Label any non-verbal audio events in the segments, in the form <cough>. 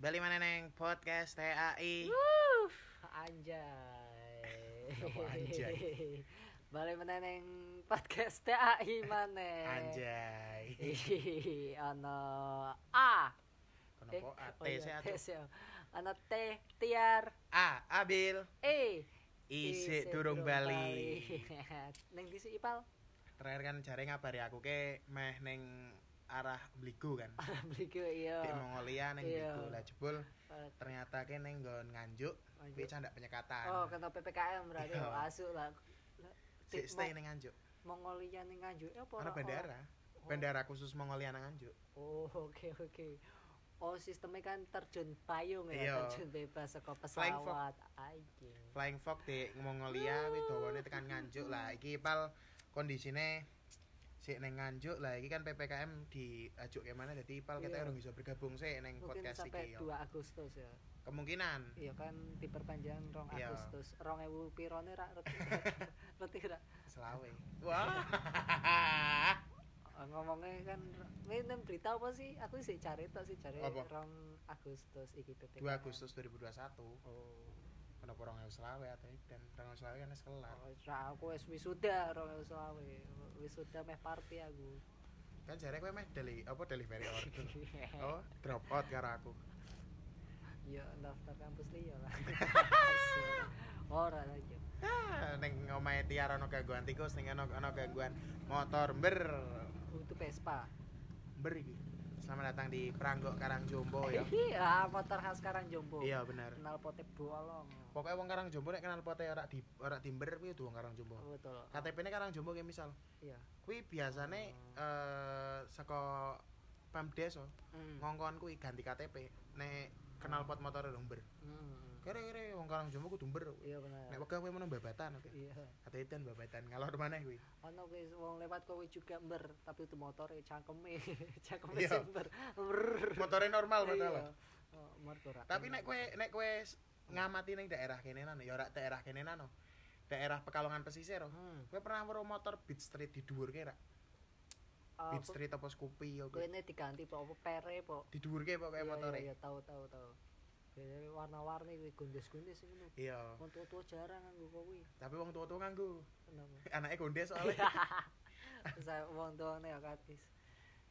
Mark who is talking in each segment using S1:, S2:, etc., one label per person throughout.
S1: Bali Maneneng Podcast TAI.
S2: Wuh, anjay.
S1: Apa <laughs> anjay?
S2: Balik meneneng podcast TAI maneh.
S1: Anjay.
S2: Hihihi, <laughs> Ano A.
S1: Kenapa A T
S2: oh iya, <laughs>
S1: C A
S2: T,
S1: tuh?
S2: C, O. Ano T, Tiar,
S1: A Abil.
S2: E.
S1: Isi durung Bali.
S2: <laughs> Neng di si Ipal,
S1: <laughs> Terakhir kan jare ngabari aku ke meh neng arah Bligo
S2: <laughs>
S1: kan.
S2: para <laughs> beli ke iya.
S1: Di Mongolia neng
S2: Iya.
S1: Bligo lah jebul.
S2: Para-
S1: Ternyata ke neng nggon nganjuk, kuwi candak penyekatan.
S2: Oh, kena PPKM
S1: <laughs>
S2: berarti
S1: Iya.
S2: oh, asuk lah.
S1: Sik stay neng nganjuk.
S2: Mongolia ning Nganjuk apa?
S1: Karena
S2: ora-
S1: bandara.
S2: ora?
S1: Bandara khusus Mongolia nang nganjuk.
S2: Oh, <laughs> oke oke. Oh, sistemnya kan terjun payung
S1: Iya.
S2: ya, terjun bebas saka
S1: Flying fox.
S2: pesawat. Anjing.
S1: Flying Fox di Mongolia kuwi dawane tekan nganjuk lah. Iki pal kondisine sik neng nganjuk lah iki kan PPKM diajuk ke mana dadi pal kita
S2: Iya.
S1: urung bisa bergabung sik neng
S2: Mungkin
S1: podcast
S2: sampai
S1: iki. yo.
S2: 2 Agustus ya.
S1: Kemungkinan
S2: Iya kan diperpanjang rong
S1: Iya.
S2: Agustus. Rong ewu pirone rak reti.
S1: <laughs>
S2: reti rak.
S1: selawe.
S2: <laughs>
S1: Wah.
S2: Eh, Ngomongnya kan ini ini berita apa sih? Aku sih cari tok sih cari
S1: Apa?
S2: rong Agustus iki PPKM.
S1: 2 Agustus 2021
S2: Oh,
S1: kenapa orang yang selawe atau dan orang selawe kan wis kelar.
S2: oh ra aku wis wisuda rong ewu selawe. Wisuda meh party aku. <laughs>
S1: Kan jare kowe meh deli apa delivery order. <laughs> Oh, drop out karo aku.
S2: Ya daftar kampus liya
S1: <laughs>
S2: lah. Oh, Ora lagi.
S1: Ah, Neng omahe Tiar ana gangguan tikus, ning ana ana gangguan motor ber.
S2: Itu Vespa.
S1: Beri. Selamat datang di Peranggok Karang Jombo ya.
S2: <laughs> Iya, motor khas Karang Jombo.
S1: iya benar.
S2: Kenal pote bolong.
S1: Pokoknya wong Karang Jombo nek kenal pote ora di ora timber kuwi tuh wong Karang Jombo.
S2: Oh, Betul.
S1: KTP-ne Karang Jombo kayak misal.
S2: Iya.
S1: Kuwi biasane eh saka Pamdes oh.
S2: Hmm.
S1: ngongkon kuwi ganti KTP nek kenal pot motor dong ber.
S2: Hmm.
S1: Kere-kere wong Karang Jombo kudu ber.
S2: Iya benar.
S1: Nek wegah kuwi menang babatan oke.
S2: Iya.
S1: Katanya dan babatan ngalor maneh kuwi.
S2: Ono kuwi wong lewat kowe juga ember, tapi itu motore cangkeme, <laughs> cangkeme
S1: Iya.
S2: sing ember. Ember.
S1: Motore normal padahal.
S2: Iya. Oh, mergo ra.
S1: Tapi nek kowe nek kowe s- ngamati ning daerah kene nano, ya ora daerah kene nano. Daerah Pekalongan pesisir. oh.
S2: Hmm.
S1: Kowe pernah weruh motor Beat Street di dhuwur ra?
S2: Ah,
S1: Beat Street apa Scoopy ya
S2: Kowe
S1: kuwi.
S2: ini diganti po apa pere po.
S1: Di dhuwur ke pokoke
S2: Iya,
S1: motore.
S2: Iya, iya, tahu tahu tahu. Biasanya warna-warni kuwi gundes-gundes ngono.
S1: Iya.
S2: Wong tua-tua jarang nganggo kuwi.
S1: Tapi wong tua-tua nganggo. <laughs>
S2: Kenapa?
S1: Anake gondes
S2: <laughs>
S1: soalnya.
S2: Terus saya wong doang nih artis.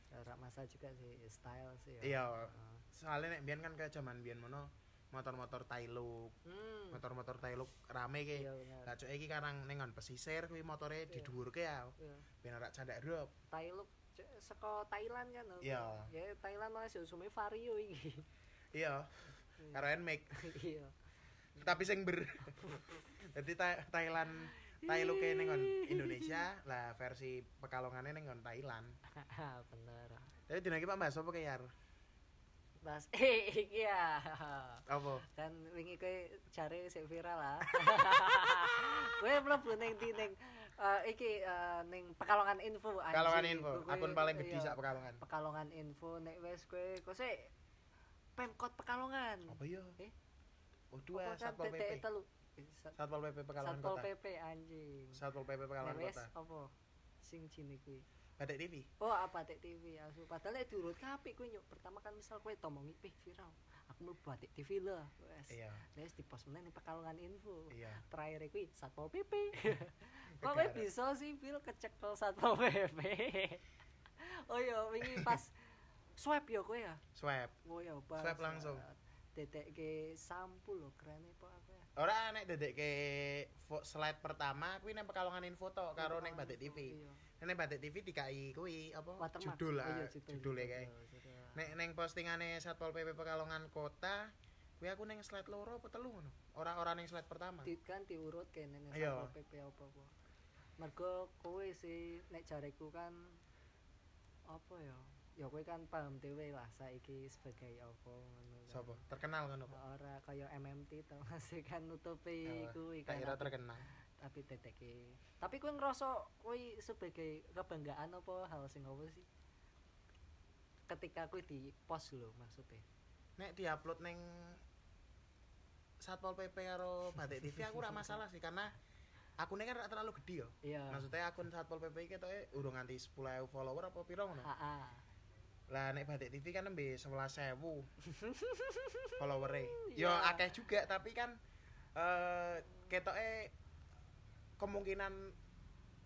S2: Ora masa juga sih style sih. ya.
S1: Iya.
S2: Heeh.
S1: Soalnya nek biyen kan ke zaman biyen mono motor-motor Tailuk,
S2: Hmm.
S1: motor-motor Tailuk rame ke.
S2: Iya benar.
S1: Lah cok iki karang ning ngon pesisir kuwi motore di
S2: Iya.
S1: dhuwur ke ya.
S2: Iya.
S1: Ben ora candak drop.
S2: Thailand c- saka Thailand kan. lho.
S1: Iya.
S2: Ya Thailand malah susume vario iki.
S1: Iya.
S2: Iya.
S1: Karo make
S2: <laughs> Iya.
S1: <laughs> tapi sing ber <laughs> jadi Tha- Thailand Thailand kayak nengon Indonesia lah versi pekalongannya nengon Thailand
S2: Haha, <laughs> Bener.
S1: tapi dina iki Pak Mbak sapa kayak
S2: Mas, <laughs> eh iki ya.
S1: apa
S2: Dan wingi kowe jare sik viral
S1: <laughs>
S2: lah. Kowe mlebu ning di ning eh, iki eh, ning Pekalongan Info anjing.
S1: Pekalongan info
S2: Kowe-
S1: akun paling gede
S2: iya.
S1: sak Pekalongan
S2: Pekalongan info nek wes kowe kose Pemkot Pekalongan.
S1: apa yo
S2: Eh?
S1: oh dua
S2: Apa kan
S1: satpol
S2: TTE
S1: PP
S2: telu? Eh, Sat-
S1: satpol PP Pekalongan
S2: Satpol
S1: Kota
S2: PP anjing.
S1: satpol PP
S2: Nek
S1: Pekalongan
S2: wes
S1: Kota
S2: apa? Sing cini kuwi.
S1: Batik TV
S2: Oh, apa Tek TV asu. Padahal nek diurut kabeh kuwi nyuk. Pertama kan misal kowe tomongi pih viral. Aku mlebu Batik TV lah wes.
S1: iya
S2: Nek Wes di pos meneh ning Pekalongan info.
S1: iya
S2: Terakhir kuwi
S1: <laughs>
S2: Satpol PP. Kok kowe
S1: Kegara.
S2: bisa sih Bil kecekel Satpol PP? <laughs> oh iya, wingi pas swab yo kowe ya.
S1: swab
S2: Oh ya,
S1: Swab langsung.
S2: Detek ke sampul loh, keren nih pak aku ya.
S1: ora nek dedek ke fo- slide pertama kuwi neng Pekalongan info tok karo neng Batik TV
S2: Iya.
S1: neng Batik TV dikai kuwi apa
S2: Watermark.
S1: judul
S2: Oh
S1: lah
S2: iya,
S1: judulnya kayak
S2: judul.
S1: Nek neng postingane Satpol PP Pekalongan Kota, kuwi aku neng slide loro apa telu ngono. Ora ora neng slide pertama.
S2: Di- kan diurut kene nih
S1: Iya.
S2: Satpol PP apa apa. Mergo kowe sih nek jareku kan apa ya? Ya kowe kan paham dhewe lah saiki sebagai apa ngono. kan.
S1: Sopo? Terkenal ngono apa?
S2: Ora kaya MMT to <laughs> masih kan nutupi
S1: Eh,
S2: kuwi
S1: Tak
S2: kan.
S1: kira terkenal.
S2: Tapi detek e. Tapi kowe ngerasa kowe sebagai kebanggaan apa hal sing apa sih? Ketika kowe di post lho maksudnya.
S1: Nek diupload neng Satpol PP karo Batik TV aku ora masalah sih karena akunnya kan nggak terlalu gede ya
S2: iya
S1: maksudnya akun Satpol PP iki ketoke udah nganti 10.000 follower apa piro ngono
S2: ha
S1: lah nek Batik TV kan nembe 11.000
S2: <laughs>
S1: follower
S2: Iya.
S1: yo akeh juga tapi kan eh ketoke kemungkinan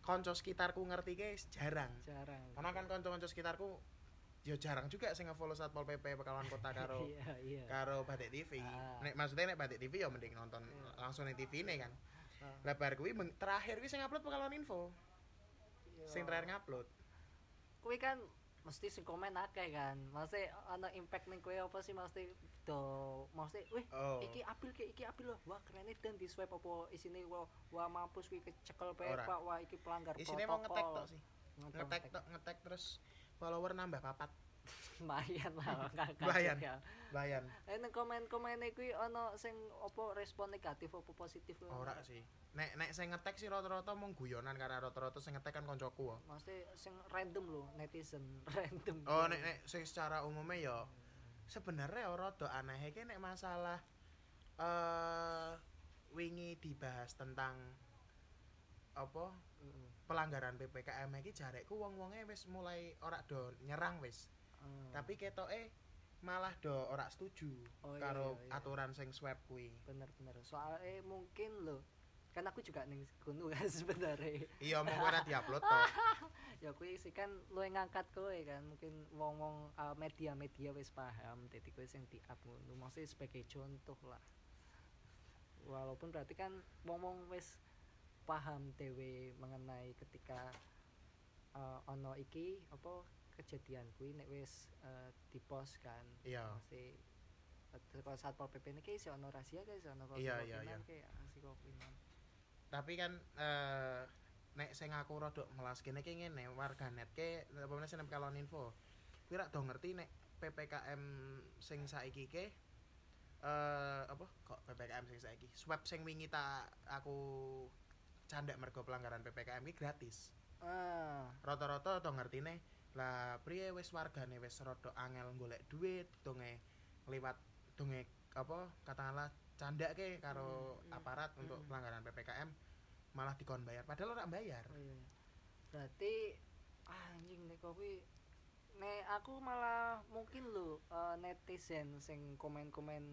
S1: konco sekitarku ngerti ke jarang
S2: jarang
S1: karena kan konco-konco sekitarku yo jarang juga sing nge-follow Satpol PP Pekalongan Kota karo
S2: <laughs> iya iya
S1: karo Batik TV.
S2: Ah. Hmm.
S1: Nek maksudnya nek Batik TV ya mending nonton langsung ning TV ne kan.
S2: Ah.
S1: Lah bar kuwi meng- terakhir kuwi sing upload Pekalongan Info,
S2: Iya.
S1: sing terakhir ngupload.
S2: kuwi kan mesti sing komen akeh kan mesti ana impact ning kowe apa sih mesti do mesti wih
S1: Oh.
S2: iki apil ki iki apil loh wah keren dan di swipe apa isine wah, wah mampus kuwi kecekel pe
S1: Ora.
S2: pak wah iki pelanggar
S1: Isine mau ngetek tok sih.
S2: Ngetek,
S1: Ngetek
S2: ngetek.
S1: tok, ngetek terus follower nambah papat.
S2: lumayan
S1: <laughs>
S2: lah kakak
S1: Lumayan. Layan.
S2: eh ning komen-komen kuwi ana sing apa respon negatif apa positif kuwi.
S1: Ora sih. Nek nek sing ngetek sih rata-rata mung guyonan karena rata-rata sing ngetek kan koncoku. wo.
S2: mesti sing random loh netizen <laughs> random
S1: Oh nek nek sing secara umumnya ya sebenarnya ya rada aneh iki nek masalah eh wingi dibahas tentang apa
S2: Heeh.
S1: pelanggaran PPKM iki jarekku wong-wonge wis mulai ora do nyerang wis.
S2: Heeh.
S1: Tapi ketoke malah do ora setuju
S2: Hmm. Oh, iya,
S1: karo
S2: iya, iya.
S1: aturan sing swab kuwi.
S2: bener-bener soalnya mungkin loh kan aku juga neng gunung kan <laughs> sebenarnya
S1: Iya mung ora diupload
S2: <laughs>
S1: to.
S2: ya aku sih kan lu yang ngangkat kowe kan mungkin wong wong media-media wis paham jadi kowe sing di up ngono maksudnya sebagai contoh lah walaupun berarti kan wong wong wis paham dewe mengenai ketika eh, ono iki apa kejadian kuwi nek wis eh, di post kan
S1: Iya.
S2: mesti kalau satpol pp ini kayak si ono rahasia kayak si ono
S1: Iya, iya, iya.
S2: kelompok iman, kayak si kopinan
S1: Tapi kan eh nek sing aku rada melas kene iki ngene warganet ke apa meneh sing kalon info. Kuwi rak do ngerti nek PPKM sing saiki ke eh apa kok PPKM sing saiki swab sing wingi tak aku candak mergo pelanggaran PPKM ki gratis.
S2: ah
S1: rata-rata to ngertine lah priye wis wargane wis rada angel golek duit donge liwat donge apa katakanlah candake karo
S2: Hmm, iya.
S1: aparat untuk
S2: Mm-mm.
S1: pelanggaran PPKM malah dikon bayar padahal ora bayar
S2: Oh iya. Berarti ah, anjing nek kopi nek aku malah mungkin lho eh, netizen sing komen-komen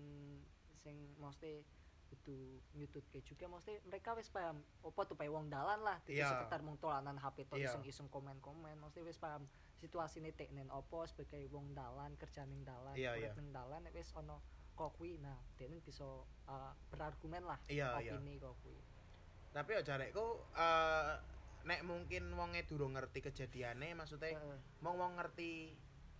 S2: sing mesti itu nyutut ke juga mesti mereka wis paham opo tuh pae wong dalan lah tidak
S1: Iya.
S2: sekitar mung tolanan HP to
S1: Iya.
S2: iseng-iseng komen-komen mesti wis paham situasi ini teknen opo sebagai wong dalan kerja ning dalan
S1: Iya,
S2: urip
S1: iya.
S2: ning dalan nek wis ono kok kuwi nah dene bisa eh, berargumen lah
S1: Ah, iya
S2: opini kok kuwi
S1: tapi ya jarekku eh, nek mungkin wonge durung ngerti kejadiane maksudnya
S2: Heeh.
S1: wong wong ngerti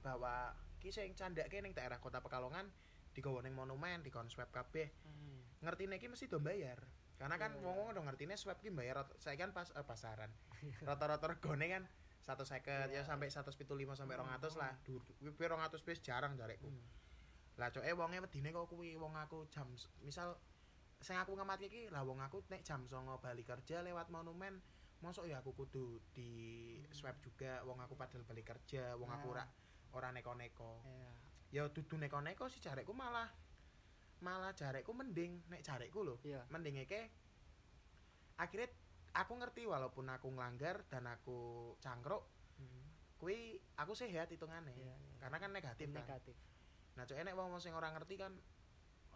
S1: bahwa ki sing candake ning daerah kota Pekalongan digawa ning monumen dikon swab kabeh
S2: Hmm.
S1: ngertine iki mesti do bayar. Karena kan
S2: Iya, iya.
S1: wong-wong udah ngertine swab ki bayar saya kan pas eh, pasaran. Rata-rata regone kan 150
S2: Iya.
S1: ya sampai 175 sampai
S2: Hmm,
S1: 200 lah. Dur- Kuwi 200 wis jarang jarekku.
S2: Hmm.
S1: Lah coke wonge wedine kok kuwi wong aku jam s- misal sing aku ngemati iki lah wong aku nek jam 09.00 bali kerja lewat monumen mosok ya aku kudu di swab juga wong aku padahal balik kerja wong aku ora
S2: Nah.
S1: ora neko-neko.
S2: Iya.
S1: Ya dudu neko-neko sih jarekku malah malah jarekku mending nek jarekku lho.
S2: Iya.
S1: mending iki akhirnya aku ngerti walaupun aku ngelanggar dan aku cangkruk
S2: Hmm.
S1: kuwi aku sehat hitungannya
S2: Iya, iya.
S1: karena kan negatif
S2: Tim
S1: kan
S2: negatif.
S1: nah cok enek wong sing ora ngerti kan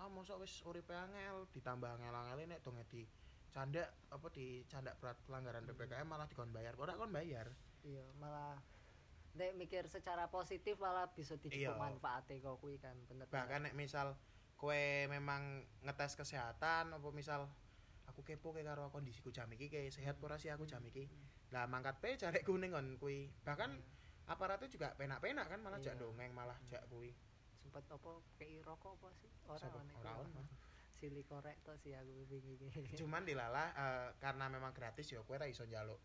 S1: ah mosok wis uripe angel ditambah angel-angel nek dong di canda apa di canda berat pelanggaran
S2: Hmm.
S1: PPKM malah dikon bayar ora kon bayar
S2: Iya, malah nek mikir secara positif malah bisa dijupuk
S1: Iya.
S2: manfaate kok kuwi kan bener.
S1: bahkan nek misal kue memang ngetes kesehatan apa misal aku kepo kayak karo kondisiku jam iki kayak sehat apa ora sih aku jam iki
S2: Hmm.
S1: lah mangkat pe cari kuning kon kui bahkan aparatnya juga penak-penak kan malah jak
S2: Iya. Hmm.
S1: dongeng malah jak kui
S2: sempat apa kei rokok apa sih? Ora
S1: Sapa?
S2: nek
S1: Ora
S2: kuwi.
S1: ono.
S2: Sili korek to sih aku wingi iki.
S1: cuman dilalah eh, karena memang gratis ya kue ra iso njaluk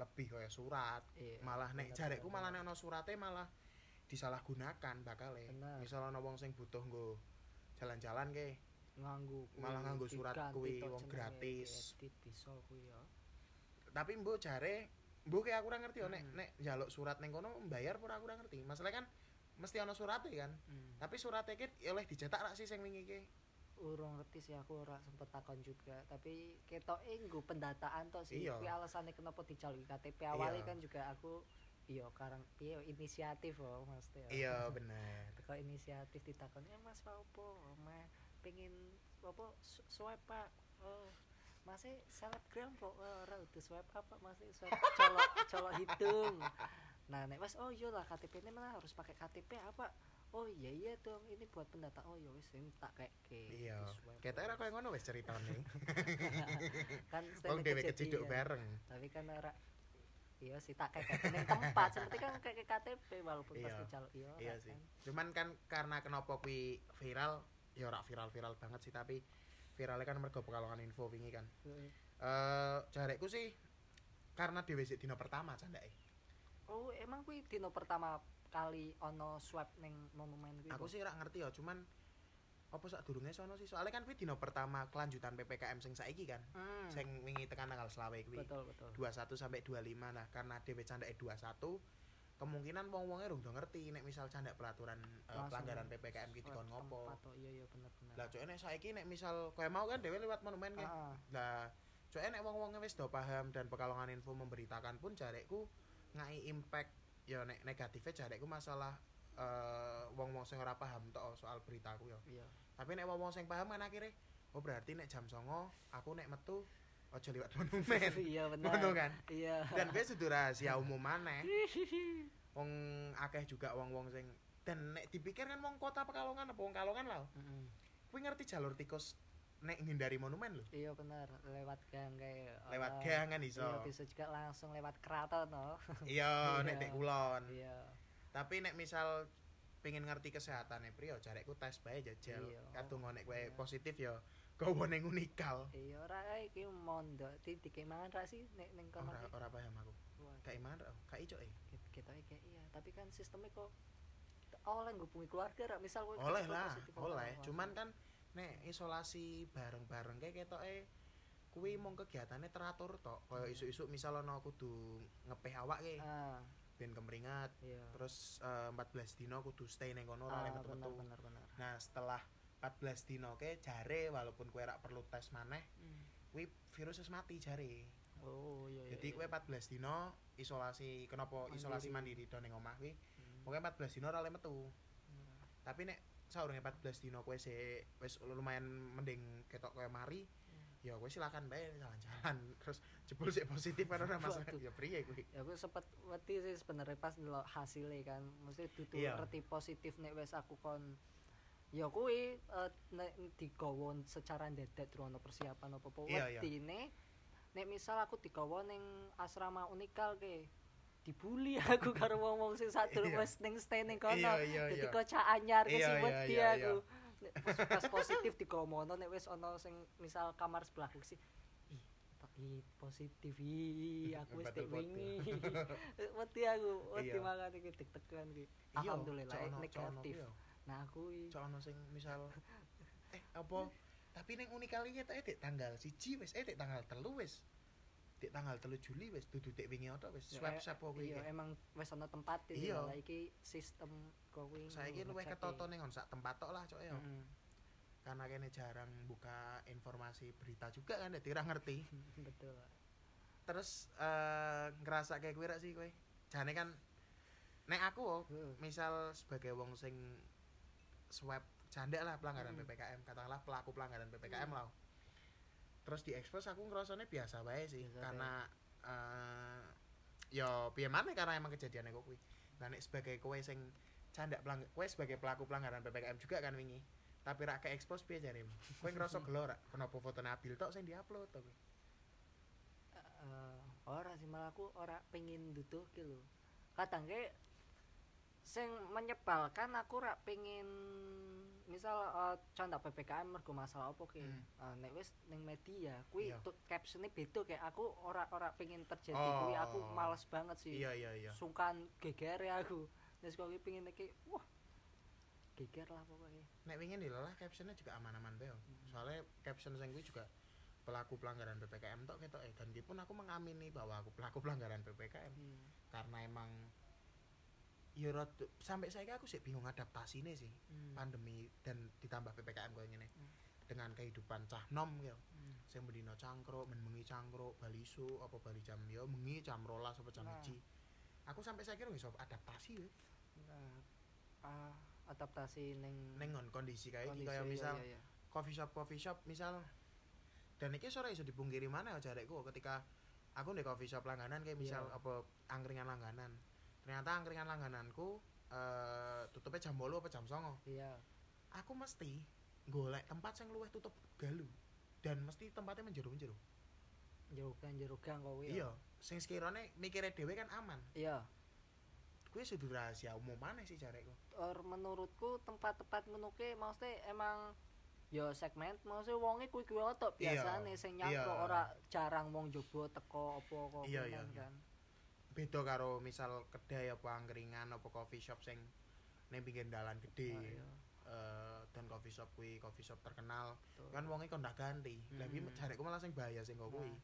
S1: lebih kaya surat
S2: <laughs> Iya.
S1: malah nek
S2: bener,
S1: jarekku
S2: bener,
S1: malah nek ono surate malah disalahgunakan bakal e
S2: Bener.
S1: misal ono wong sing butuh nggo jalan-jalan ke
S2: nganggo kuwi,
S1: malah nganggo surat
S2: diganti
S1: kuwi,
S2: to
S1: wong
S2: jenenge,
S1: gratis.
S2: diedit, bisa kuwi ya.
S1: tapi mbok jare mbok kayak aku ora ngerti yo nek
S2: Mm.
S1: nek njaluk surat ning kono mbayar apa ora aku ora Hmm. ngerti masalah kan mesti ono surate kan tapi surate iki oleh dicetak rak sih sing wingi iki
S2: urung ngerti sih aku ora sempet takon juga tapi ketoke nggo pendataan tok sih
S1: Iya.
S2: kuwi alasane kenapa dicalon KTP awalnya
S1: Iya.
S2: kan juga aku iya karang piye yo, inisiatif oh Mas Teo.
S1: iya bener
S2: teko inisiatif ditakon eh Mas Pak opo Mas pengen opo su- swipe Pak oh masih selebgram kok oh, ora udah swipe apa masih swipe
S1: <laughs>
S2: colok colok hidung nah nek Mas oh iya lah KTP ini malah harus pakai KTP apa oh iya iya dong ini buat pendata oh iya wis ini tak kayak
S1: iya ketara koyo ngono wis ceritane
S2: <laughs>
S1: <laughs>
S2: kan
S1: wong
S2: setiap
S1: dhewe
S2: kejadian.
S1: keciduk bareng
S2: tapi kan ora iya sih tak kayak kayak tempat seperti kan kayak KTP walaupun
S1: Iya.
S2: pasti calon iya
S1: Iya
S2: ora
S1: sih.
S2: kan.
S1: cuman kan karena kenapa kui viral ya ora viral-viral banget sih tapi viralnya kan mergo pekalongan info wingi kan
S2: Heeh.
S1: eh jarekku sih karena dhewe sik dina pertama candake
S2: Oh, emang kuwi dino pertama kali ono swab ning monumen kuwi.
S1: aku
S2: Bos?
S1: sih ora ngerti ya cuman apa sak durunge sono sih soalnya kan kui dina pertama kelanjutan PPKM sing saiki kan
S2: Hmm,
S1: sing wingi tekan tanggal selawe kuwi eh,
S2: betul betul.
S1: 21 sampai 25 nah karena dhewe candake 21 kemungkinan wong-wonge rung do ngerti nek misal candak peraturan eh,
S2: Langsung
S1: pelanggaran PPKM ki
S2: Swab
S1: dikon ngopo
S2: tempat, oh, Iya iya bener bener.
S1: lah cok nek saiki nek misal kowe mau kan dhewe lewat monumen kan
S2: Heeh.
S1: lah cok nek wong-wonge wis do paham dan pekalongan info memberitakan pun jarekku ngai impact ya nek negatifnya jarekku masalah eh, wong-wong sing ora paham tok soal beritaku ya
S2: Iya.
S1: tapi nek wong-wong sing paham kan akhirnya oh berarti nek jam 09.00 aku nek metu aja liwat monumen
S2: <laughs> Iya
S1: ngono
S2: bener.
S1: kan Eh?
S2: Iya.
S1: dan gue sudah rahasia umum maneh wong akeh juga wong-wong sing dan nek dipikir kan wong kota Pekalongan apa wong Kalongan lah
S2: Mm-mm.
S1: kuwi ngerti jalur tikus nek ngindari monumen lho
S2: Iya bener, lewat gang kayak
S1: lewat
S2: ono-
S1: gang kan
S2: Iya,
S1: iso
S2: bisa juga langsung lewat keraton no.
S1: iya
S2: Iya.
S1: nek dek kulon
S2: Iya.
S1: tapi nek misal pengen ngerti kesehatan nek priyo jarekku tes bae jajal
S2: Iya.
S1: kadung nek kowe
S2: Iya.
S1: positif ya gowo ning unikal
S2: Iya ora kae iki mondo di dikei mangan ra sih nek ning kono.
S1: ora
S2: ki?
S1: ora paham aku
S2: Wah,
S1: kai mana kai cok eh
S2: Ket- ketoke kayak iya tapi kan sistemnya kok oleh ngubungi keluarga ra misal kowe
S1: oleh
S2: kebetulan
S1: lah
S2: positif
S1: oleh
S2: apa-apa.
S1: cuman kan nek isolasi bareng-bareng kayak ketoke kuwi mong kegiatannya teratur tok kaya
S2: Iya.
S1: isu-isu misal ana kudu ngepeh awak e
S2: ah
S1: ben kemringat
S2: iya
S1: terus eh, 14 dino kudu stay ning kono ora
S2: Ah,
S1: lek
S2: benar
S1: metu
S2: benar benar
S1: Nah, setelah 14 dino ke jare walaupun kue rak perlu tes maneh, kuwi virus wis mati jare.
S2: oh iya iya
S1: Jadi kue 14 dino isolasi kenapa
S2: Mandiri.
S1: isolasi mandiri do ning omah kuwi,
S2: iya.
S1: pokoke 14 dino ora oleh metu.
S2: Hmm.
S1: Tapi nek saurunge 14 dino kue se wis lumayan mending ketok kue mari, ya
S2: Iya.
S1: kue silakan bae jalan-jalan <laughs> terus jebul sik positif kan ora masuk.
S2: Waduh.
S1: Ya priye kuwi?
S2: ya aku sempet wedi sih sebenarnya pas ndelok hasilnya kan mesti dudu
S1: Iya.
S2: ngerti positif nek wes aku kon ya kuwi eh, nek digawa secara dadak durung ono persiapan apa-apa
S1: Iya, iya.
S2: wedine nek misal aku digawa ning asrama unikal ke dibully <laughs> aku karo wong-wong sing sadurunge
S1: Iya.
S2: wes ning stay ning kono
S1: Iya, iya,
S2: Dadi
S1: iya.
S2: kocak anyar ke
S1: Iya,
S2: sing
S1: iya,
S2: wedi
S1: iya,
S2: aku. Nek pas,
S1: <laughs>
S2: pas positif dikomono nek wis ana sing misal kamar sebelahku sih ih tak- ih, positif ih aku wis
S1: Betul,
S2: tek
S1: betul.
S2: wingi. <laughs> Wedi aku, wedi
S1: Iya.
S2: mangan iki deg-degan iki.
S1: Iya,
S2: Alhamdulillah
S1: cok ono- cok ono
S2: negatif.
S1: kuwi yo.
S2: Nah aku iki
S1: Cok ono sing misal eh apa tapi ning unikali ya tak eh, tanggal siji wis eh dek tanggal telu wis dek tanggal telu Juli wis dudu dek wingi oto wis
S2: Ya,
S1: swab
S2: eh,
S1: swab apa kuwi
S2: iya emang wis ana tempat iki
S1: Iya.
S2: malah iki sistem going. Mm-hmm.
S1: saiki luwih ketata ning sak tempat tok lah cok ya
S2: Hmm.
S1: karena kene jarang buka informasi berita juga kan dadi ora ngerti
S2: <laughs> Betul.
S1: terus eh ngerasa kayak kuwi rak sih kowe jane kan nek aku oh,
S2: Heeh.
S1: misal sebagai wong sing swab canda lah pelanggaran
S2: Hmm.
S1: PPKM katakanlah pelaku pelanggaran PPKM
S2: Hmm.
S1: lah terus diekspos aku ngerasanya biasa bae sih
S2: Biasa
S1: karena eh yo piye maneh karena emang kejadiannya kok kuwi nah nek sebagai kowe sing canda pelang kowe sebagai pelaku pelanggaran PPKM juga kan wingi tapi rak ke expose piye jarim kowe
S2: <laughs>
S1: ngerasa gelo rak kenapa foto Nabil tok sing diupload to kowe
S2: Eh, ora sih malah aku ora pengen duduk gitu lho. kadang ke sing menyebalkan aku ora pengen misal eh, canda PPKM mergo masalah apa ki
S1: Hmm.
S2: Eh, nek wis ning media kuwi
S1: Iya.
S2: tuh captionnya beda kayak aku ora ora pengen terjadi
S1: Oh.
S2: kuwi aku males banget sih
S1: iya iya iya
S2: sungkan geger ya aku terus kok pengen iki wah geger lah pokoknya
S1: nek wingi dilelah captionnya juga aman-aman bae. oh.
S2: Hmm.
S1: Soalnya caption sing kuwi juga pelaku pelanggaran PPKM tok ketok eh dan ki pun aku mengamini bahwa aku pelaku <laughs> pelanggaran PPKM
S2: Iya.
S1: karena emang ya rada- sampai saya aku sih bingung adaptasinya sih
S2: Hmm.
S1: pandemi dan ditambah PPKM kayak ngene.
S2: Hmm.
S1: Dan dengan kehidupan cah nom gitu.
S2: Hmm.
S1: Sing mendino cangkruk, men bengi cangkruk, balisu apa bali jam yo bengi jam rolas apa jam
S2: Nah.
S1: 1. Aku sampai saya kira iso adaptasi ya.
S2: Nah, ah, adaptasi neng
S1: Neng nggon kondisi kayak iki
S2: kondisi,
S1: kayak
S2: iya,
S1: misal
S2: iya, iya.
S1: coffee shop coffee shop misal dan iki sore iso dipungkiri mana ya jarekku ketika aku di coffee shop langganan kayak misal
S2: Iya.
S1: apa angkringan langganan. Ternyata angkringan langgananku eh tutupnya jam 8 apa jam 09.00.
S2: Iya,
S1: aku mesti golek tempat yang luwih tutup galu dan mesti tempatnya menjeru-menjeru
S2: jerogan-jerogan kowe. ya.
S1: iya sing sekirane mikirnya dhewe kan aman
S2: Iya.
S1: kuwi sudah rahasia umum mana sih jarekku
S2: Or menurutku tempat-tempat ngono ki maksudnya emang ya segmen maksudnya wonge kuwi-kuwi wae tok
S1: Iya,
S2: biasane sing
S1: iya.
S2: nyangkok ora jarang wong jobo teko apa kok
S1: Iya,
S2: ngono
S1: iya, iya.
S2: kan.
S1: beda karo misal kedai apa angkringan apa coffee shop sing ning pinggir dalan gede
S2: Ah, iya.
S1: Eh, dan coffee shop kuwi coffee shop terkenal
S2: Betul.
S1: kan wonge kon ndak ganti lha kuwi
S2: Mm.
S1: jarekku malah sing bahaya sing kok kuwi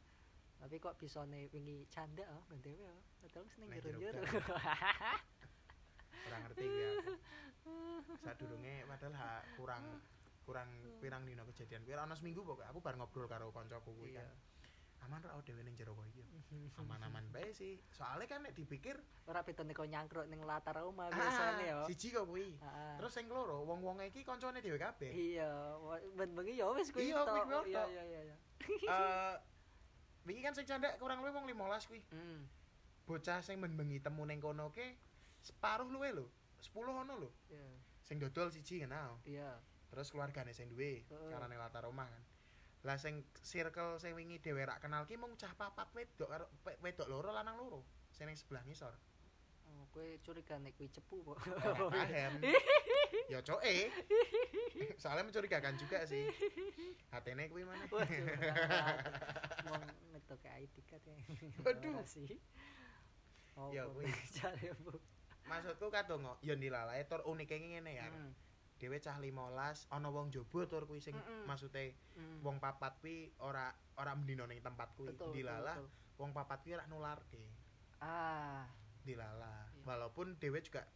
S2: Nah, tapi kok bisa nih wingi canda oh bendewe oh padahal seneng
S1: Nek
S2: jero-jero <laughs>
S1: ora ngerti ya sadurunge padahal ha, kurang kurang pirang dino kejadian kuwi ana seminggu pokoknya aku bar ngobrol karo kancaku kuwi
S2: iya
S1: kan aman ra dhewe ning jero koyo aman-aman bae sih soalnya kan nek dipikir
S2: <laughs> ora betone kok nyangkruk ning latar omah biasane
S1: ah,
S2: ya
S1: siji kok kuwi
S2: Heeh.
S1: terus sing loro wong-wong iki koncone dhewe kabeh
S2: iya wa- ben bengi ya wis kuwi
S1: Iya, kuwi
S2: tok.
S1: kuwi
S2: iya
S1: tok.
S2: iya iya iya
S1: Eh, wingi kan sing candhak kurang luwih wong 15 kuwi
S2: Hmm.
S1: bocah sing menbengi temu ning kono ke separuh luwe lho 10 ono lho
S2: iya
S1: sing dodol siji kenal
S2: iya
S1: terus keluargane sing duwe
S2: Heeh.
S1: karane latar omah kan lah sing circle sing wingi dhewe rak kenal ki mung cah papat wedok karo- pe- wedok loro lanang loro sing ning sebelah ngisor
S2: Oh, kowe curiga nek kuwi cepu kok <laughs>
S1: Ahem. Ya coe. Soalnya mencurigakan juga sih. Hatene kuwi mana?
S2: Waduh, mau ngetok kayak ID card ya.
S1: Waduh.
S2: Terima kasih. Oh,
S1: Ya,
S2: ya,
S1: wis.
S2: <laughs> cari bu.
S1: Maksudku kadongo ya nilalae tur unike ngene ya.
S2: Hmm,
S1: Dhewe cah 15, ana wong jobo tur kuwi sing
S2: Mm-mm.
S1: maksude
S2: hmm.
S1: wong papat kuwi ora ora mendino ning tempat kuwi.
S2: Betul,
S1: Dilalah
S2: betul, betul.
S1: wong papat kuwi rak nularke.
S2: Ah,
S1: Dilalah.
S2: Iya.
S1: Walaupun dhewe juga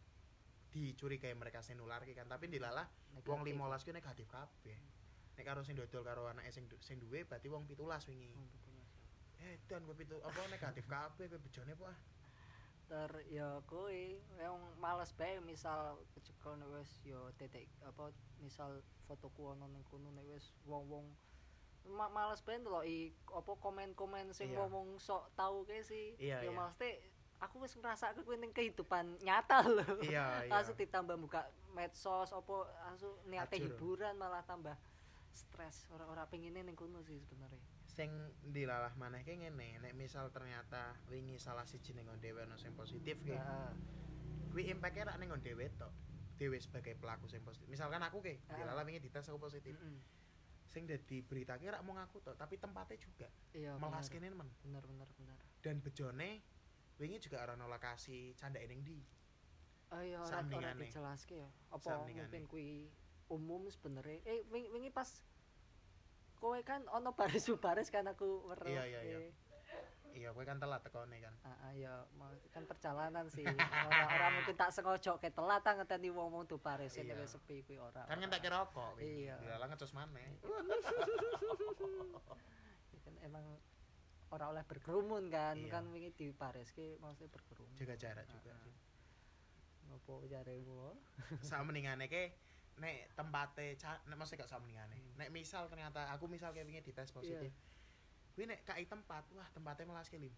S1: dicurigai mereka sing nularke kan, tapi dilalah wong 15
S2: negatif.
S1: kuwi negatif kabeh. Nek karo sing dodol karo anake sing du- sing duwe berarti wong 17 wingi.
S2: Hmm, betul, Mas.
S1: Eh, dan gue pitu apa negatif kabeh kowe bejone
S2: <laughs>
S1: apa?
S2: Ter ya kowe yang males bae misal kecekel nek wis ya titik apa misal fotoku ono ning kono nek wis wong-wong Ma males banget loh i apa komen-komen sing
S1: Iya.
S2: ngomong sok tau ke sih
S1: Iya, iya.
S2: ya males teh aku wis ngerasa aku ning kehidupan nyata loh
S1: Iya,
S2: <laughs>
S1: iya.
S2: langsung ditambah buka medsos opo langsung niate
S1: Acur.
S2: hiburan malah tambah stres orang-orang pengennya ning kono sih sebenarnya
S1: Sing dilalah maneh ki ngene, nek misal ternyata wingi salah siji ning nggon dhewe ana sing positif ki,
S2: Heeh.
S1: kuwi impact-e rak ning nggon dhewe tok. Dhewe sebagai pelaku sing positif. Misalkan aku ki,
S2: Ah. Mm.
S1: dilalah wingi dites aku positif.
S2: Mm-mm.
S1: Sing dadi berita ki rak mung aku tok, tapi tempatnya juga
S2: iya Oh, bener.
S1: melaskene men.
S2: bener bener bener
S1: Dan bejone wingi juga ora ono lokasi candake ning ndi.
S2: oh iya ora ora
S1: Sambingane.
S2: dijelaske ya apa
S1: Sambingane.
S2: mungkin kuwi umum sebenarnya eh wingi, wingi pas kowe kan ono baris <laughs> baris kan aku weruh
S1: Iya, iya, iya.
S2: eh.
S1: Iya, kowe kan telat tekone kan.
S2: Ah, ah, ya, mau- kan perjalanan sih.
S1: <laughs>
S2: Orang-orang mungkin tak sengaja ke telat ah, ngeteni wong-wong tuh paris
S1: Iya.
S2: nek wis sepi kuwi ora.
S1: Kan
S2: ora.
S1: ngentek rokok. kuwi.
S2: Iya.
S1: Dilalah ngecus maneh.
S2: <laughs> Ya kan emang ora oleh berkerumun kan,
S1: Iya.
S2: kan wingi di paris ki maksudnya berkerumun.
S1: Jaga jarak juga
S2: Ah.
S1: sih.
S2: Ngopo jaremu?
S1: sama mendingane ke nek tempate ca- nek mesti gak sama mendingane
S2: Hmm.
S1: nek misal ternyata aku misal kayak wingi dites positif kuwi nek kai tempat wah tempatnya malas kelim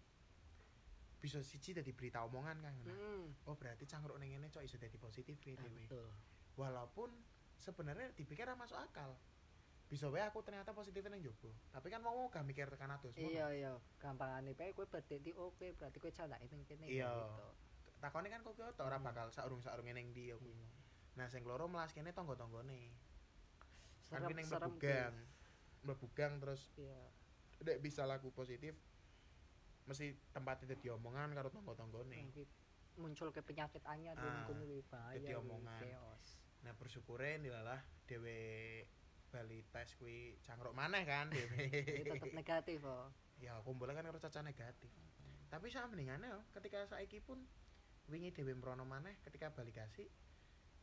S1: bisa siji dadi berita omongan kan nah.
S2: Hmm.
S1: oh berarti cangkruk ning ngene cok iso dadi positif ya
S2: Ah,
S1: dhewe
S2: betul.
S1: walaupun sebenarnya dipikir ora masuk akal bisa wae aku ternyata positif ning jobo tapi kan wong gak mikir tekan atus
S2: Iya iya, gampangane bae kowe berdeti oke, berarti kowe candake ning kene
S1: Iya.
S2: gitu.
S1: takone kan kok kok
S2: Hmm.
S1: ora bakal saurung-saurunge ning ndi ya kuwi nah sing loro malas kene tangga-tanggane kan kuwi ning
S2: Serem-serem
S1: mlebu gang mlebu gang terus
S2: kuwi. Iya.
S1: nek bisa laku positif mesti tempat itu diomongan karo tonggo-tonggone.
S2: Nah, kuwi muncul ke penyakit anyar
S1: Ah,
S2: ah, kuwi bahaya.
S1: jadi
S2: kuwi,
S1: omongan. <laughs>
S2: Chaos.
S1: Nah, bersyukure nilalah dhewe Bali tes kuwi cangkruk maneh kan
S2: Jadi Iya, tetep
S1: dhewe.
S2: negatif oh. kok.
S1: ya kumpulan kan karo caca negatif. Tapi sama mendingannya ketika saiki pun wingi dhewe mrono maneh ketika bali kasih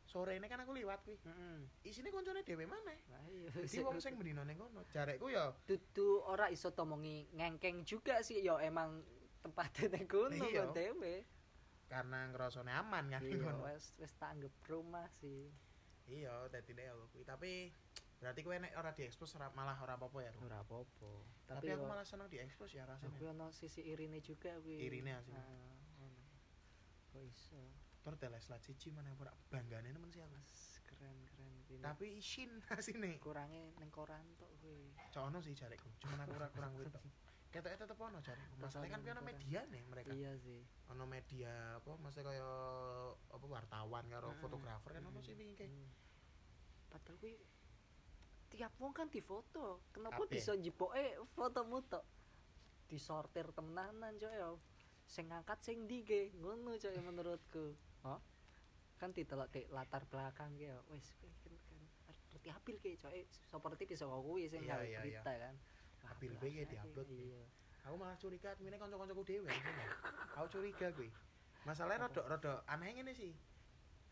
S1: sore ini kan aku liwat kuwi
S2: Heeh.
S1: isine koncone dhewe maneh
S2: Lah iya.
S1: dadi wong sing mendino ning kono jarekku ya
S2: dudu ora iso tomongi ngengkeng juga sih ya emang tempatnya ning kono
S1: Iya.
S2: kok dhewe.
S1: karena ngerasane aman kan ning
S2: Iya,
S1: kono
S2: wis wis tak anggap rumah sih.
S1: iya dadi nek aku kuwi tapi berarti kowe nek ora diekspos ora- malah ora apa-apa ya Ru?
S2: Ora apa-apa.
S1: tapi
S2: Tapi,
S1: aku
S2: yo-
S1: malah seneng diekspos ya
S2: tapi
S1: rasane
S2: ono sisi irine juga kuwi.
S1: irine asine
S2: Heeh, ono. Kok iso?
S1: tur teles lah cici mana ora banggane nemen sih aku
S2: Mas, keren-keren kuwi.
S1: tapi isin <laughs> asine
S2: kurangnya ning koran tok kuwi.
S1: cok ono sih jarekku cuman aku ora kurang kuwi tok ketoke tetep ono jarekku masalahnya kan piye ono media nih mereka
S2: Iya sih.
S1: ono media apa maksudnya kaya apa wartawan karo
S2: Heeh.
S1: fotografer kan ono sih wingi
S2: Hmm. Padahal kuwi tiap wong kan difoto. Kenapa
S1: Kabeh.
S2: bisa njepoke fotomu tok? Disortir temenanan coy yo. Sing ngangkat sing ndi ge? Ngono coy menurutku. Hah? Kan ditelok di latar belakang ge yo. Wis kuwi kan kan seperti apil ge coy. Seperti bisa kok kuwi sing
S1: Iya,
S2: gawe
S1: iya, iya.
S2: berita kan.
S1: Apil
S2: Wah,
S1: be ge
S2: biasa
S1: diupload
S2: iki,
S1: ge.
S2: Iya.
S1: aku malah curiga adminnya kanca-kancaku dhewe ngono lho. aku curiga kuwi masalahnya
S2: Apa?
S1: rada rada aneh ngene sih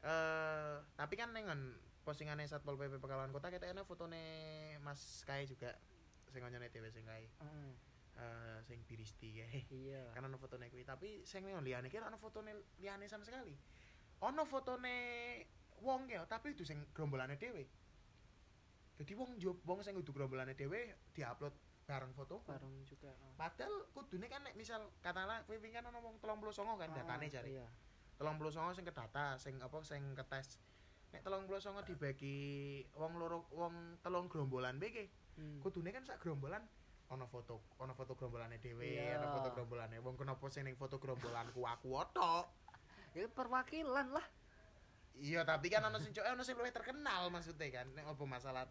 S1: eh tapi kan nengon postingane Satpol PP Pekalongan Kota kita enak fotone Mas Kai juga sing kancane dhewe sing Kai
S2: Heeh,
S1: eh sing Biristi kae
S2: iya.
S1: kan ono fotone kuwi tapi sing nengon liyane ki ora ono fotone liyane sama sekali ono fotone wong ya tapi itu sing gerombolane dhewe jadi wong job wong sing kudu gerombolane dhewe diupload bareng fotoku
S2: Bareng juga. oh.
S1: Padahal kudune kan nek misal katakanlah kowe wingi kan ana wong 39 kan
S2: Ah,
S1: datane jare.
S2: Iya.
S1: 39 sing kedata, sing apa sing ketes. Nek 39 dibagi wong loro wong telung gerombolan piye
S2: Hmm.
S1: Kudune kan sak gerombolan ana foto ana foto gerombolane dhewe,
S2: Iya.
S1: ana foto gerombolane wong kenapa sing ning foto gerombolanku aku otok.
S2: Ya perwakilan lah.
S1: Iya, tapi kan ana sing coke ana sing luwih terkenal maksudnya kan. Nek apa masalah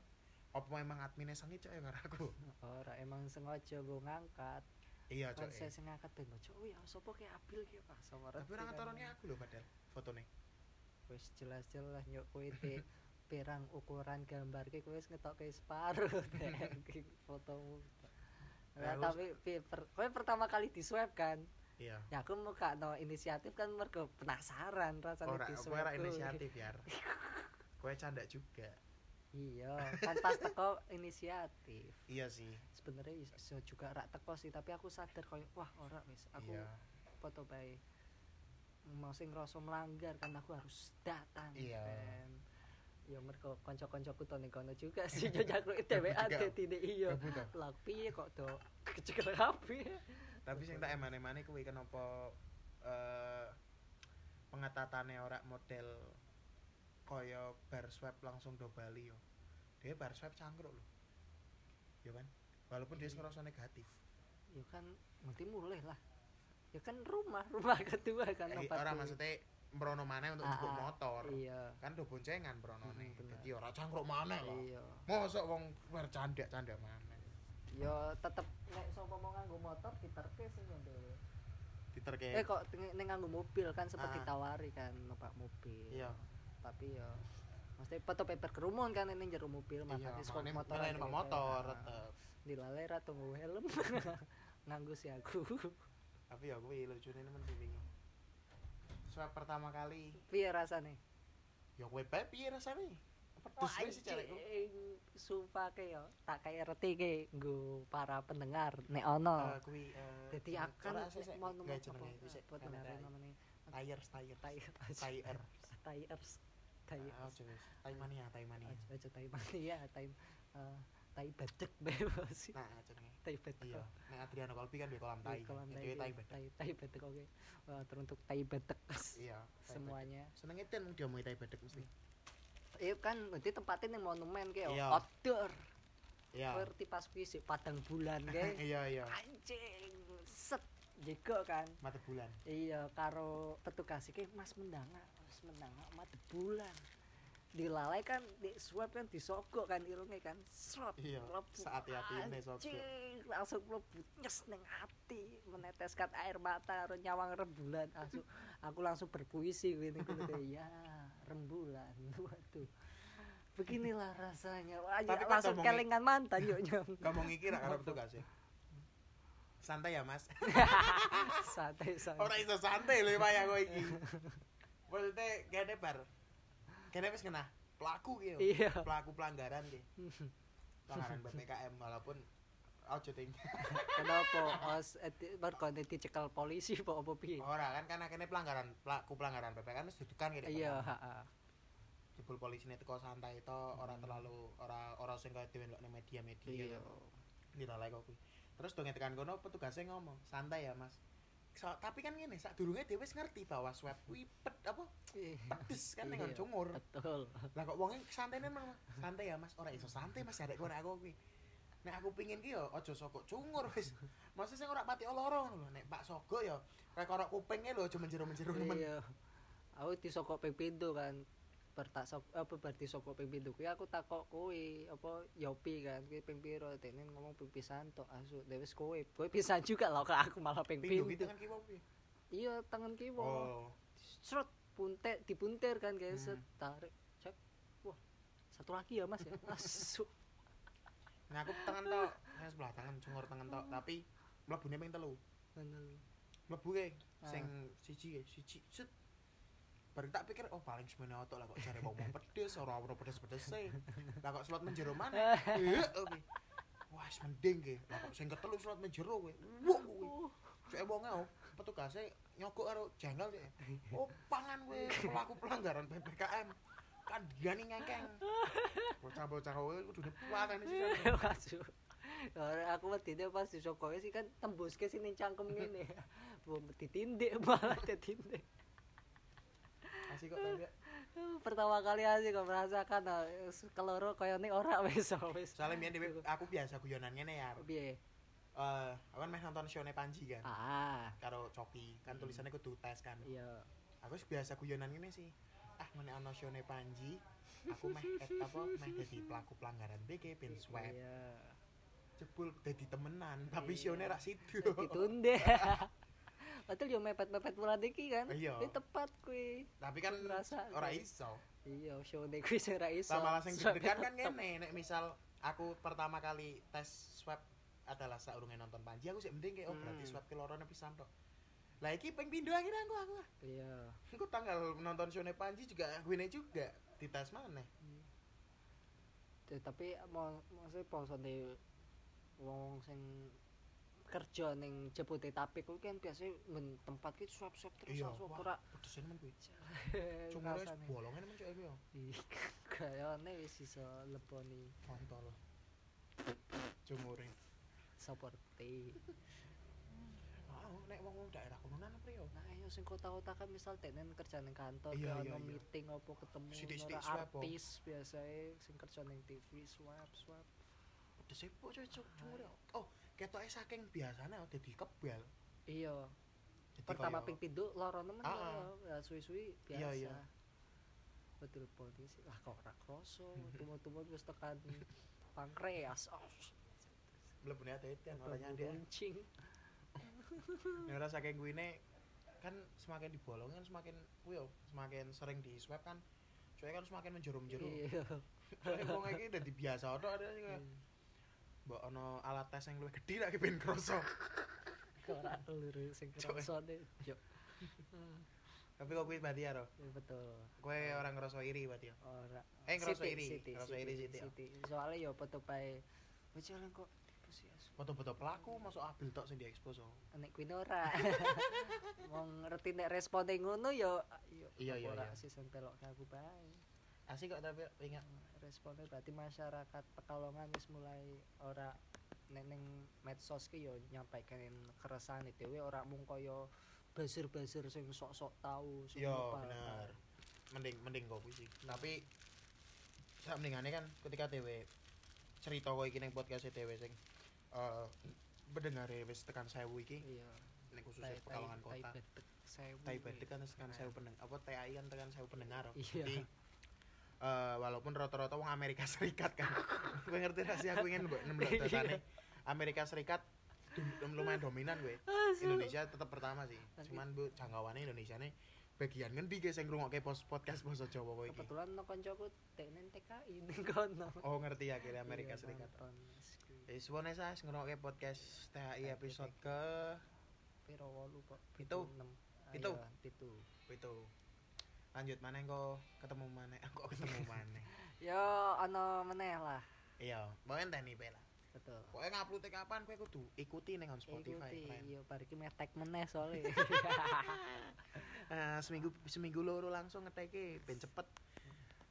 S1: apa emang admine sangi coke karo aku.
S2: Ora emang sengaja go ngangkat.
S1: Iya,
S2: Kan
S1: coke.
S2: saya sing ngangkat ben ojo. Oh ya sapa ki abil ki Pak sama
S1: Tapi ora ngetorone aku lho padahal fotone.
S2: kan. Wis jelas-jelas nyok kowe <laughs> te perang ukuran gambar ki kowe wis ngetokke separuh <laughs> Dek, ki fotomu. Nah,
S1: Eh, wis-
S2: tapi pi- per- kowe pertama kali di swab kan.
S1: Iya.
S2: Ya aku mau gak no inisiatif kan mergo penasaran rasane
S1: ora
S2: di
S1: kowe
S2: swab.
S1: ora
S2: kuwi.
S1: inisiatif ya kowe canda juga
S2: Iya, kan pas teko inisiatif.
S1: iya sih
S2: Sebenarnya iso juga rak teko sih, tapi aku sadar koyo wah ora wis aku
S1: iya
S2: foto bae mau sing ngerasa melanggar kan aku harus datang
S1: Iya.
S2: kan. ya mergo kanca-kancaku to ning kono
S1: <laughs>
S2: juga sih yo nyakluk dhewe
S1: juga.
S2: ade dine iya
S1: Gabut toh.
S2: lah piye kok do kecekel kabeh
S1: tapi sing tak emane-emane kuwi kenapa eh pengetatane ora model kaya bar swab langsung do Bali yo dia bar swab cangkruk lho ya kan walaupun dia ngerasa negatif
S2: ya kan mesti mulai lah ya kan rumah rumah <laughs> kedua kan
S1: eh,
S2: tempat
S1: ora
S2: kuwi.
S1: maksudnya merono maneh untuk
S2: Ah,
S1: njupuk
S2: ah,
S1: motor
S2: iya
S1: kan do boncengan beronone
S2: Hmm, bener.
S1: jadi ora cangkruk maneh lah
S2: iya Eh,
S1: mosok wong bar canda-canda maneh
S2: yo tetep nek sapa mau nganggo motor diterke sing yo dhewe
S1: diterke
S2: eh kok teng- ning nganggo mobil kan sempat
S1: Ah.
S2: ditawari kan numpak mobil
S1: iya
S2: tapi ya mesti foto paper kerumun kan ini jero
S1: iya
S2: mobil maka
S1: makane
S2: di sekolah motor
S1: mulai numpak motor tetep
S2: di lalera tunggu helm <laughs> nganggu sih aku <laughs>
S1: tapi ya gue lucu nih temen sih Swab pertama kali
S2: piye rasane
S1: ya gue bae piye rasane pedes wis sih Eh, cari
S2: Anjing, sumpah ke yo tak kayak reti ke nggo para pendengar nek ono
S1: gue
S2: jadi akan nek mau nemu
S1: nggak jenenge
S2: apa,
S1: itu sih
S2: apa namanya namanya
S1: tires tires
S2: tire
S1: tire
S2: tires tire
S1: Ah, aja wis tai mania tai mania
S2: aja aja <laughs> tai mati ya tai eh, tai badek <laughs> bebas sih
S1: nah aja nih
S2: tai badek
S1: iya nek Adriano Kolbi kan di kolam tai
S2: Di kolam
S1: itu
S2: tai
S1: tai betek
S2: tai tai betek oke Wah, teruntuk tai Hmm. betek
S1: iya tai
S2: semuanya
S1: betek. seneng itu dia mau tai betek mesti
S2: iya kan nanti tempatnya nih monumen kayak
S1: Iya.
S2: outdoor
S1: iya
S2: ngerti pas kuwi sik padang bulan kayak
S1: <laughs> iya iya
S2: anjing set jeko kan
S1: mata bulan
S2: iya karo petugas iki mas mendanga mas mendanga mati bulan dilalai kan di swab kan disogok kan irungnya kan srot
S1: Iya,
S2: mlebu.
S1: saat-hati-hatine sogok.
S2: Anjing, Ah, langsung mlebu nyes ning ati meneteskan air mata karo nyawang rembulan langsung aku langsung berpuisi gue ini gitu kayak ya rembulan <laughs> waduh beginilah rasanya Wah,
S1: Tapi
S2: ya,
S1: kan
S2: langsung
S1: ngomongin-
S2: kelingan mantan yuk nyong
S1: ngomong iki rak karo petugas ya e. santai ya mas
S2: santai santai
S1: Ora iso santai lho Pak ya kowe iki. Maksudnya gene bar. kene wis kena pelaku ki yo.
S2: iya <laughs>
S1: Pelaku pelanggaran ki. Pelanggaran PPKM walaupun ojo ting.
S2: kenapa Eh, os berkonten dicekel polisi apa apa piye
S1: Ora kan karena kene pelanggaran pelaku pelanggaran PPKM wis dudukan kene.
S2: Oh, iya heeh
S1: Jebul polisine teko santai to, ora
S2: Hmm.
S1: terlalu ora ora sing kaya diwenokne media-media.
S2: iya
S1: to. Diralai kok kuwi. Terus dong tekan kono petugasnya ngomong, "Santai ya, Mas." So, tapi kan ngene, sadurunge dhewe wis ngerti bahwa swab kuwi pet apa
S2: Iya,
S1: pedes kan ning
S2: Iya.
S1: jongor.
S2: betul
S1: Lah kok wonge santai memang santai ya Mas, ora iso santai Mas arek kono aku kuwi. Nek aku pingin ki yo aja sokok cungur wis. Masa sing ora pati lara ngono lho, nek Pak Sogo yo kayak korok kupinge lho aja menjero-menjero nemen.
S2: iya aku disokok ping pintu kan bertak sop apa berarti sokok ping pintu kuwi aku takok kuwi apa yopi kan kuwi ping piro dene ngomong ping pisan tok asu dewe wis kowe kowe pisan juga lah kok aku malah ping
S1: Pintu
S2: pintu
S1: gitu kan kiwa kuwi.
S2: iya tangan kiwa
S1: Oh.
S2: Srot, punte dipuntir kan guys
S1: Hmm.
S2: tarik cek wah satu lagi ya mas
S1: <laughs>
S2: ya asu
S1: Nah aku tangan tok, saya sebelah tangan cungur tangan tok, tapi mlebune ping telu.
S2: Bener.
S1: Mlebu ke
S2: Ah.
S1: sing siji ya, siji set. Baru tak pikir oh paling semene otok lah kok jare wong wong pedes ora ono pedes-pedes e. Lah kok slot menjero mana? Heeh oke. Wah, wis mending ge. Lah kok sing ketelu slot menjero kowe. Wah kowe.
S2: Oh, <laughs>
S1: Cek wong e petugase nyogok karo jengkel cek. Oh, pangan kowe pelaku pelanggaran PPKM. Kan diani ngengkeng. Bocah-bocah kowe kudune pateni sisan.
S2: asu Ora, aku wedine pas disokoke sih kan tembuske sih ning
S1: <laughs>
S2: cangkem ngene. Bu ditindik malah ditindik.
S1: Asik kok tangga.
S2: Pertama kali aja kok merasakan ah, s- keloro koyone ora <laughs> wis wis.
S1: Soale mbiyen dhewe aku biasa guyonan ngene ya.
S2: Piye?
S1: Eh, aku kan meh nonton showne Panji kan.
S2: Ah,
S1: Karo Coki, kan
S2: Hmm.
S1: tulisannya kudu tes kan.
S2: iya.
S1: aku wis biasa guyonan ngene sih ah ngene ana showne Panji aku meh et apa meh dadi pelaku pelanggaran BK ben swab
S2: Iya.
S1: jebul dadi temenan tapi
S2: Iya.
S1: showne rak sido
S2: Ditundik. <laughs> Padahal yo mepet-mepet mulan iki kan.
S1: <laughs> iya
S2: Ini tepat kuwi.
S1: tapi kan
S2: Ngerasa,
S1: ora
S2: kan?
S1: iso
S2: Iya, show nek kuwi sing ra iso.
S1: sama malah sing
S2: Soalnya
S1: deg-degan
S2: <laughs>
S1: kan ngene nek misal aku pertama kali tes swab adalah saurunge nonton Panji aku sih mending kayak oh berarti
S2: Hmm.
S1: swab ke lorone pisan tok lah iki ping pindho akhirnya aku aku
S2: Iya.
S1: aku tanggal nonton showne Panji juga gue juga di tes mana
S2: Te- Eh, tapi mau maksudnya posone wong sing kerja ning Jabodetabek kuwi kan biasanya ben tempat ki suap-suap terus
S1: Iya,
S2: langsung
S1: wah.
S2: ora <laughs>
S1: pedes men kuwi cuma wis bolongan men cewek ya, kuwi
S2: kayane wis iso leboni
S1: kontol jumurin
S2: seperti
S1: mau nek wong daerah kononan apa yo
S2: nah ayo sing kota-kota kan misal tenen kerja ning kantor
S1: Iya, iya,
S2: ya ono
S1: iya.
S2: meeting apa ketemu
S1: Sithik-sithik
S2: ora
S1: suap, po.
S2: artis biasanya sing kerja ning TV suap suap
S1: pedes e po cocok jumure oh ketoke saking biasane oh, dadi kebal
S2: iya
S1: Dadi
S2: pertama
S1: kaya-
S2: ping pindho loro nemen
S1: Ah,
S2: loro ya suwi-suwi biasa
S1: Iya, iya.
S2: betul polisi lah kok ora
S1: <laughs>
S2: kroso tumo-tumo wis tekan pankreas oh
S1: mlebune ati-ati makanya
S2: bau
S1: dia
S2: runcing
S1: ora saking kuwine kan semakin dibolongi kan semakin kuwi yo semakin sering di swab kan cuy kan semakin menjerum-jerum <laughs>
S2: iya
S1: Cuy, wong iki dadi biasa tok ada sing kaya,
S2: Iya.
S1: mbok ono alat tes yang luwih gedhi lagi ben kroso
S2: kok ora lur sing
S1: Cuk.
S2: krosone yo Hmm,
S1: tapi kok kuwi berarti ya Ro?
S2: iya, betul
S1: kowe orang ngerasa iri berarti ya
S2: ora
S1: eh ngerasa
S2: Sithik,
S1: iri
S2: sithik,
S1: ngerasa iri sithik
S2: sithik,
S1: ya.
S2: sithik. soalnya yo petu pae wis jalan kok Terus ya,
S1: foto-foto pelaku masuk abil tok sing diekspos oh.
S2: nek kuwi ora wong ngerti nek respone ngono yo yo
S1: Iya, iya,
S2: ora
S1: iya.
S2: sih sing pelok aku bae
S1: asik kok tapi ingat
S2: responnya berarti masyarakat Pekalongan wis mulai ora nek ning medsos ki yo nyampaikenin keresahan e dhewe ora mung kaya basir-basir sing sok-sok tahu sing
S1: Yo,
S2: ngopal.
S1: bener. mending mending kopi sih tapi sak mendingannya kan ketika dewe cerita kau iki ning podcast dewe sing eh pendengare wis tekan 1000 iki
S2: iya
S1: ning khususnya
S2: Tai- tai-
S1: Pekalongan
S2: tai
S1: kota
S2: bedek sewu
S1: Tai
S2: kuwi.
S1: Bedik kan tekan 1000 pendengar apa TAI kan tekan 1000 pendengar oh.
S2: Iya.
S1: jadi eh walaupun rata-rata wong Amerika <laughs> Serikat kan gue ngerti gak sih aku ingin mbok
S2: Iya.
S1: nemblok datane Amerika Serikat dum- lumayan dominan gue
S2: Asu.
S1: Indonesia tetap pertama sih.
S2: Tapi-
S1: Cuman bu jangkauannya Indonesia nih bagian ngendi guys yang ngrungokke pos podcast bahasa Jawa kowe iki.
S2: kebetulan no koncoku teknen TKI ning kono
S1: Oh ngerti ya akhirnya Amerika
S2: Iya,
S1: Serikat. Iya.
S2: nonton. Wis kuwi.
S1: Jadi suwone saya ngrungokke podcast THI episode ke
S2: piro wolu kok
S1: Pitu.
S2: Pitu, enam. Ah,
S1: Pitu.
S2: iya, pitu
S1: itu. lanjut maneh engko ketemu maneh <laughs> aku ketemu
S2: <laughs>
S1: maneh
S2: yo ono meneh lah
S1: iya mau enteni pe lah
S2: betul gitu,
S1: pokoknya ngupload kapan kowe kudu ikuti ning on Spotify
S2: Ikuti,
S1: keren.
S2: yo bar iki metek iya, meneh
S1: <laughs>
S2: soalnya
S1: Eh, seminggu seminggu loro langsung ngeteke ben cepet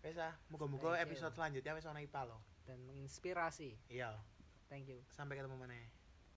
S1: wis ah muga-muga
S2: Thank you.
S1: episode selanjutnya wis ana IPA loh
S2: dan menginspirasi
S1: iya
S2: thank you
S1: sampai ketemu maneh